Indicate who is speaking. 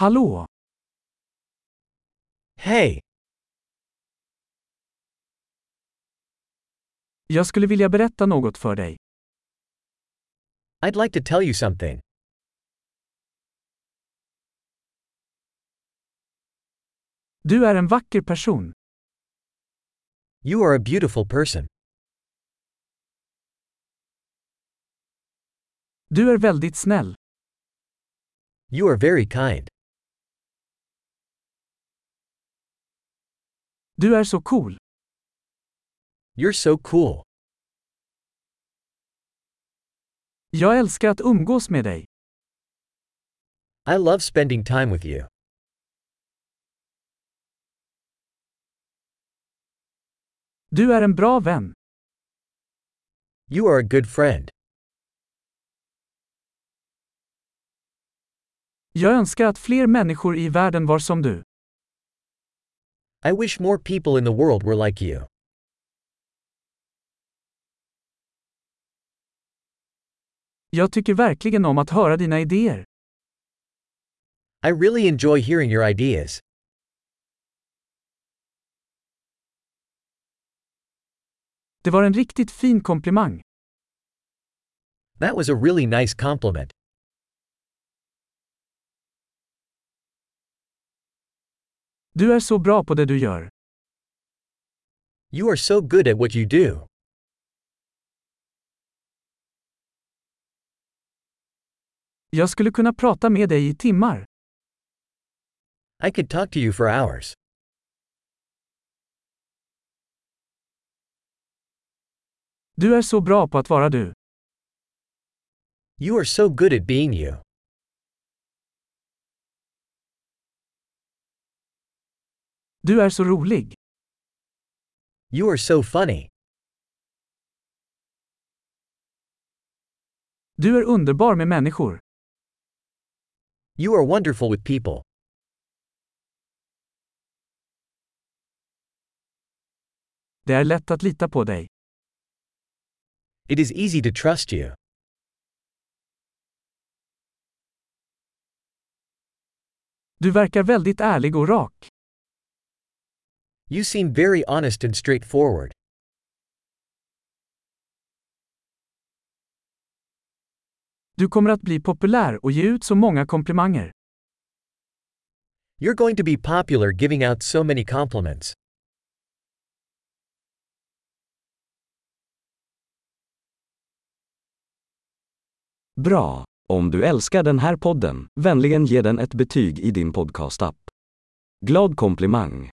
Speaker 1: Hallå!
Speaker 2: Hej!
Speaker 1: Jag skulle vilja berätta något för dig.
Speaker 2: I'd like to tell you something.
Speaker 1: Du är en vacker person.
Speaker 2: You are a beautiful person.
Speaker 1: Du är väldigt snäll.
Speaker 2: You are very kind.
Speaker 1: Du är så cool.
Speaker 2: You're so cool.
Speaker 1: Jag älskar att umgås med dig.
Speaker 2: I love spending time with you.
Speaker 1: Du är en bra vän.
Speaker 2: You are a good friend.
Speaker 1: Jag önskar att fler människor i världen var som du.
Speaker 2: I wish more people in the world were like you.
Speaker 1: Jag tycker verkligen om att höra dina idéer.
Speaker 2: I really enjoy hearing your ideas.
Speaker 1: Det var en riktigt fin komplimang.
Speaker 2: That was a really nice compliment.
Speaker 1: Du är så bra på det du gör.
Speaker 2: You are so good at what you do.
Speaker 1: Jag skulle kunna prata med dig i timmar.
Speaker 2: I could talk to you for hours.
Speaker 1: Du är så bra på att vara du.
Speaker 2: You are so good at being you.
Speaker 1: Du är så rolig.
Speaker 2: You are so funny.
Speaker 1: Du är underbar med människor.
Speaker 2: You are wonderful with people.
Speaker 1: Det är lätt att lita på dig.
Speaker 2: It is easy to trust you.
Speaker 1: Du verkar väldigt ärlig och rak.
Speaker 2: You seem very honest and straightforward.
Speaker 1: Du kommer att bli populär och ge ut så många komplimanger.
Speaker 2: You're going to be popular giving out so many compliments.
Speaker 3: Bra! Om du älskar den här podden, vänligen ge den ett betyg i din podcastapp. Glad komplimang!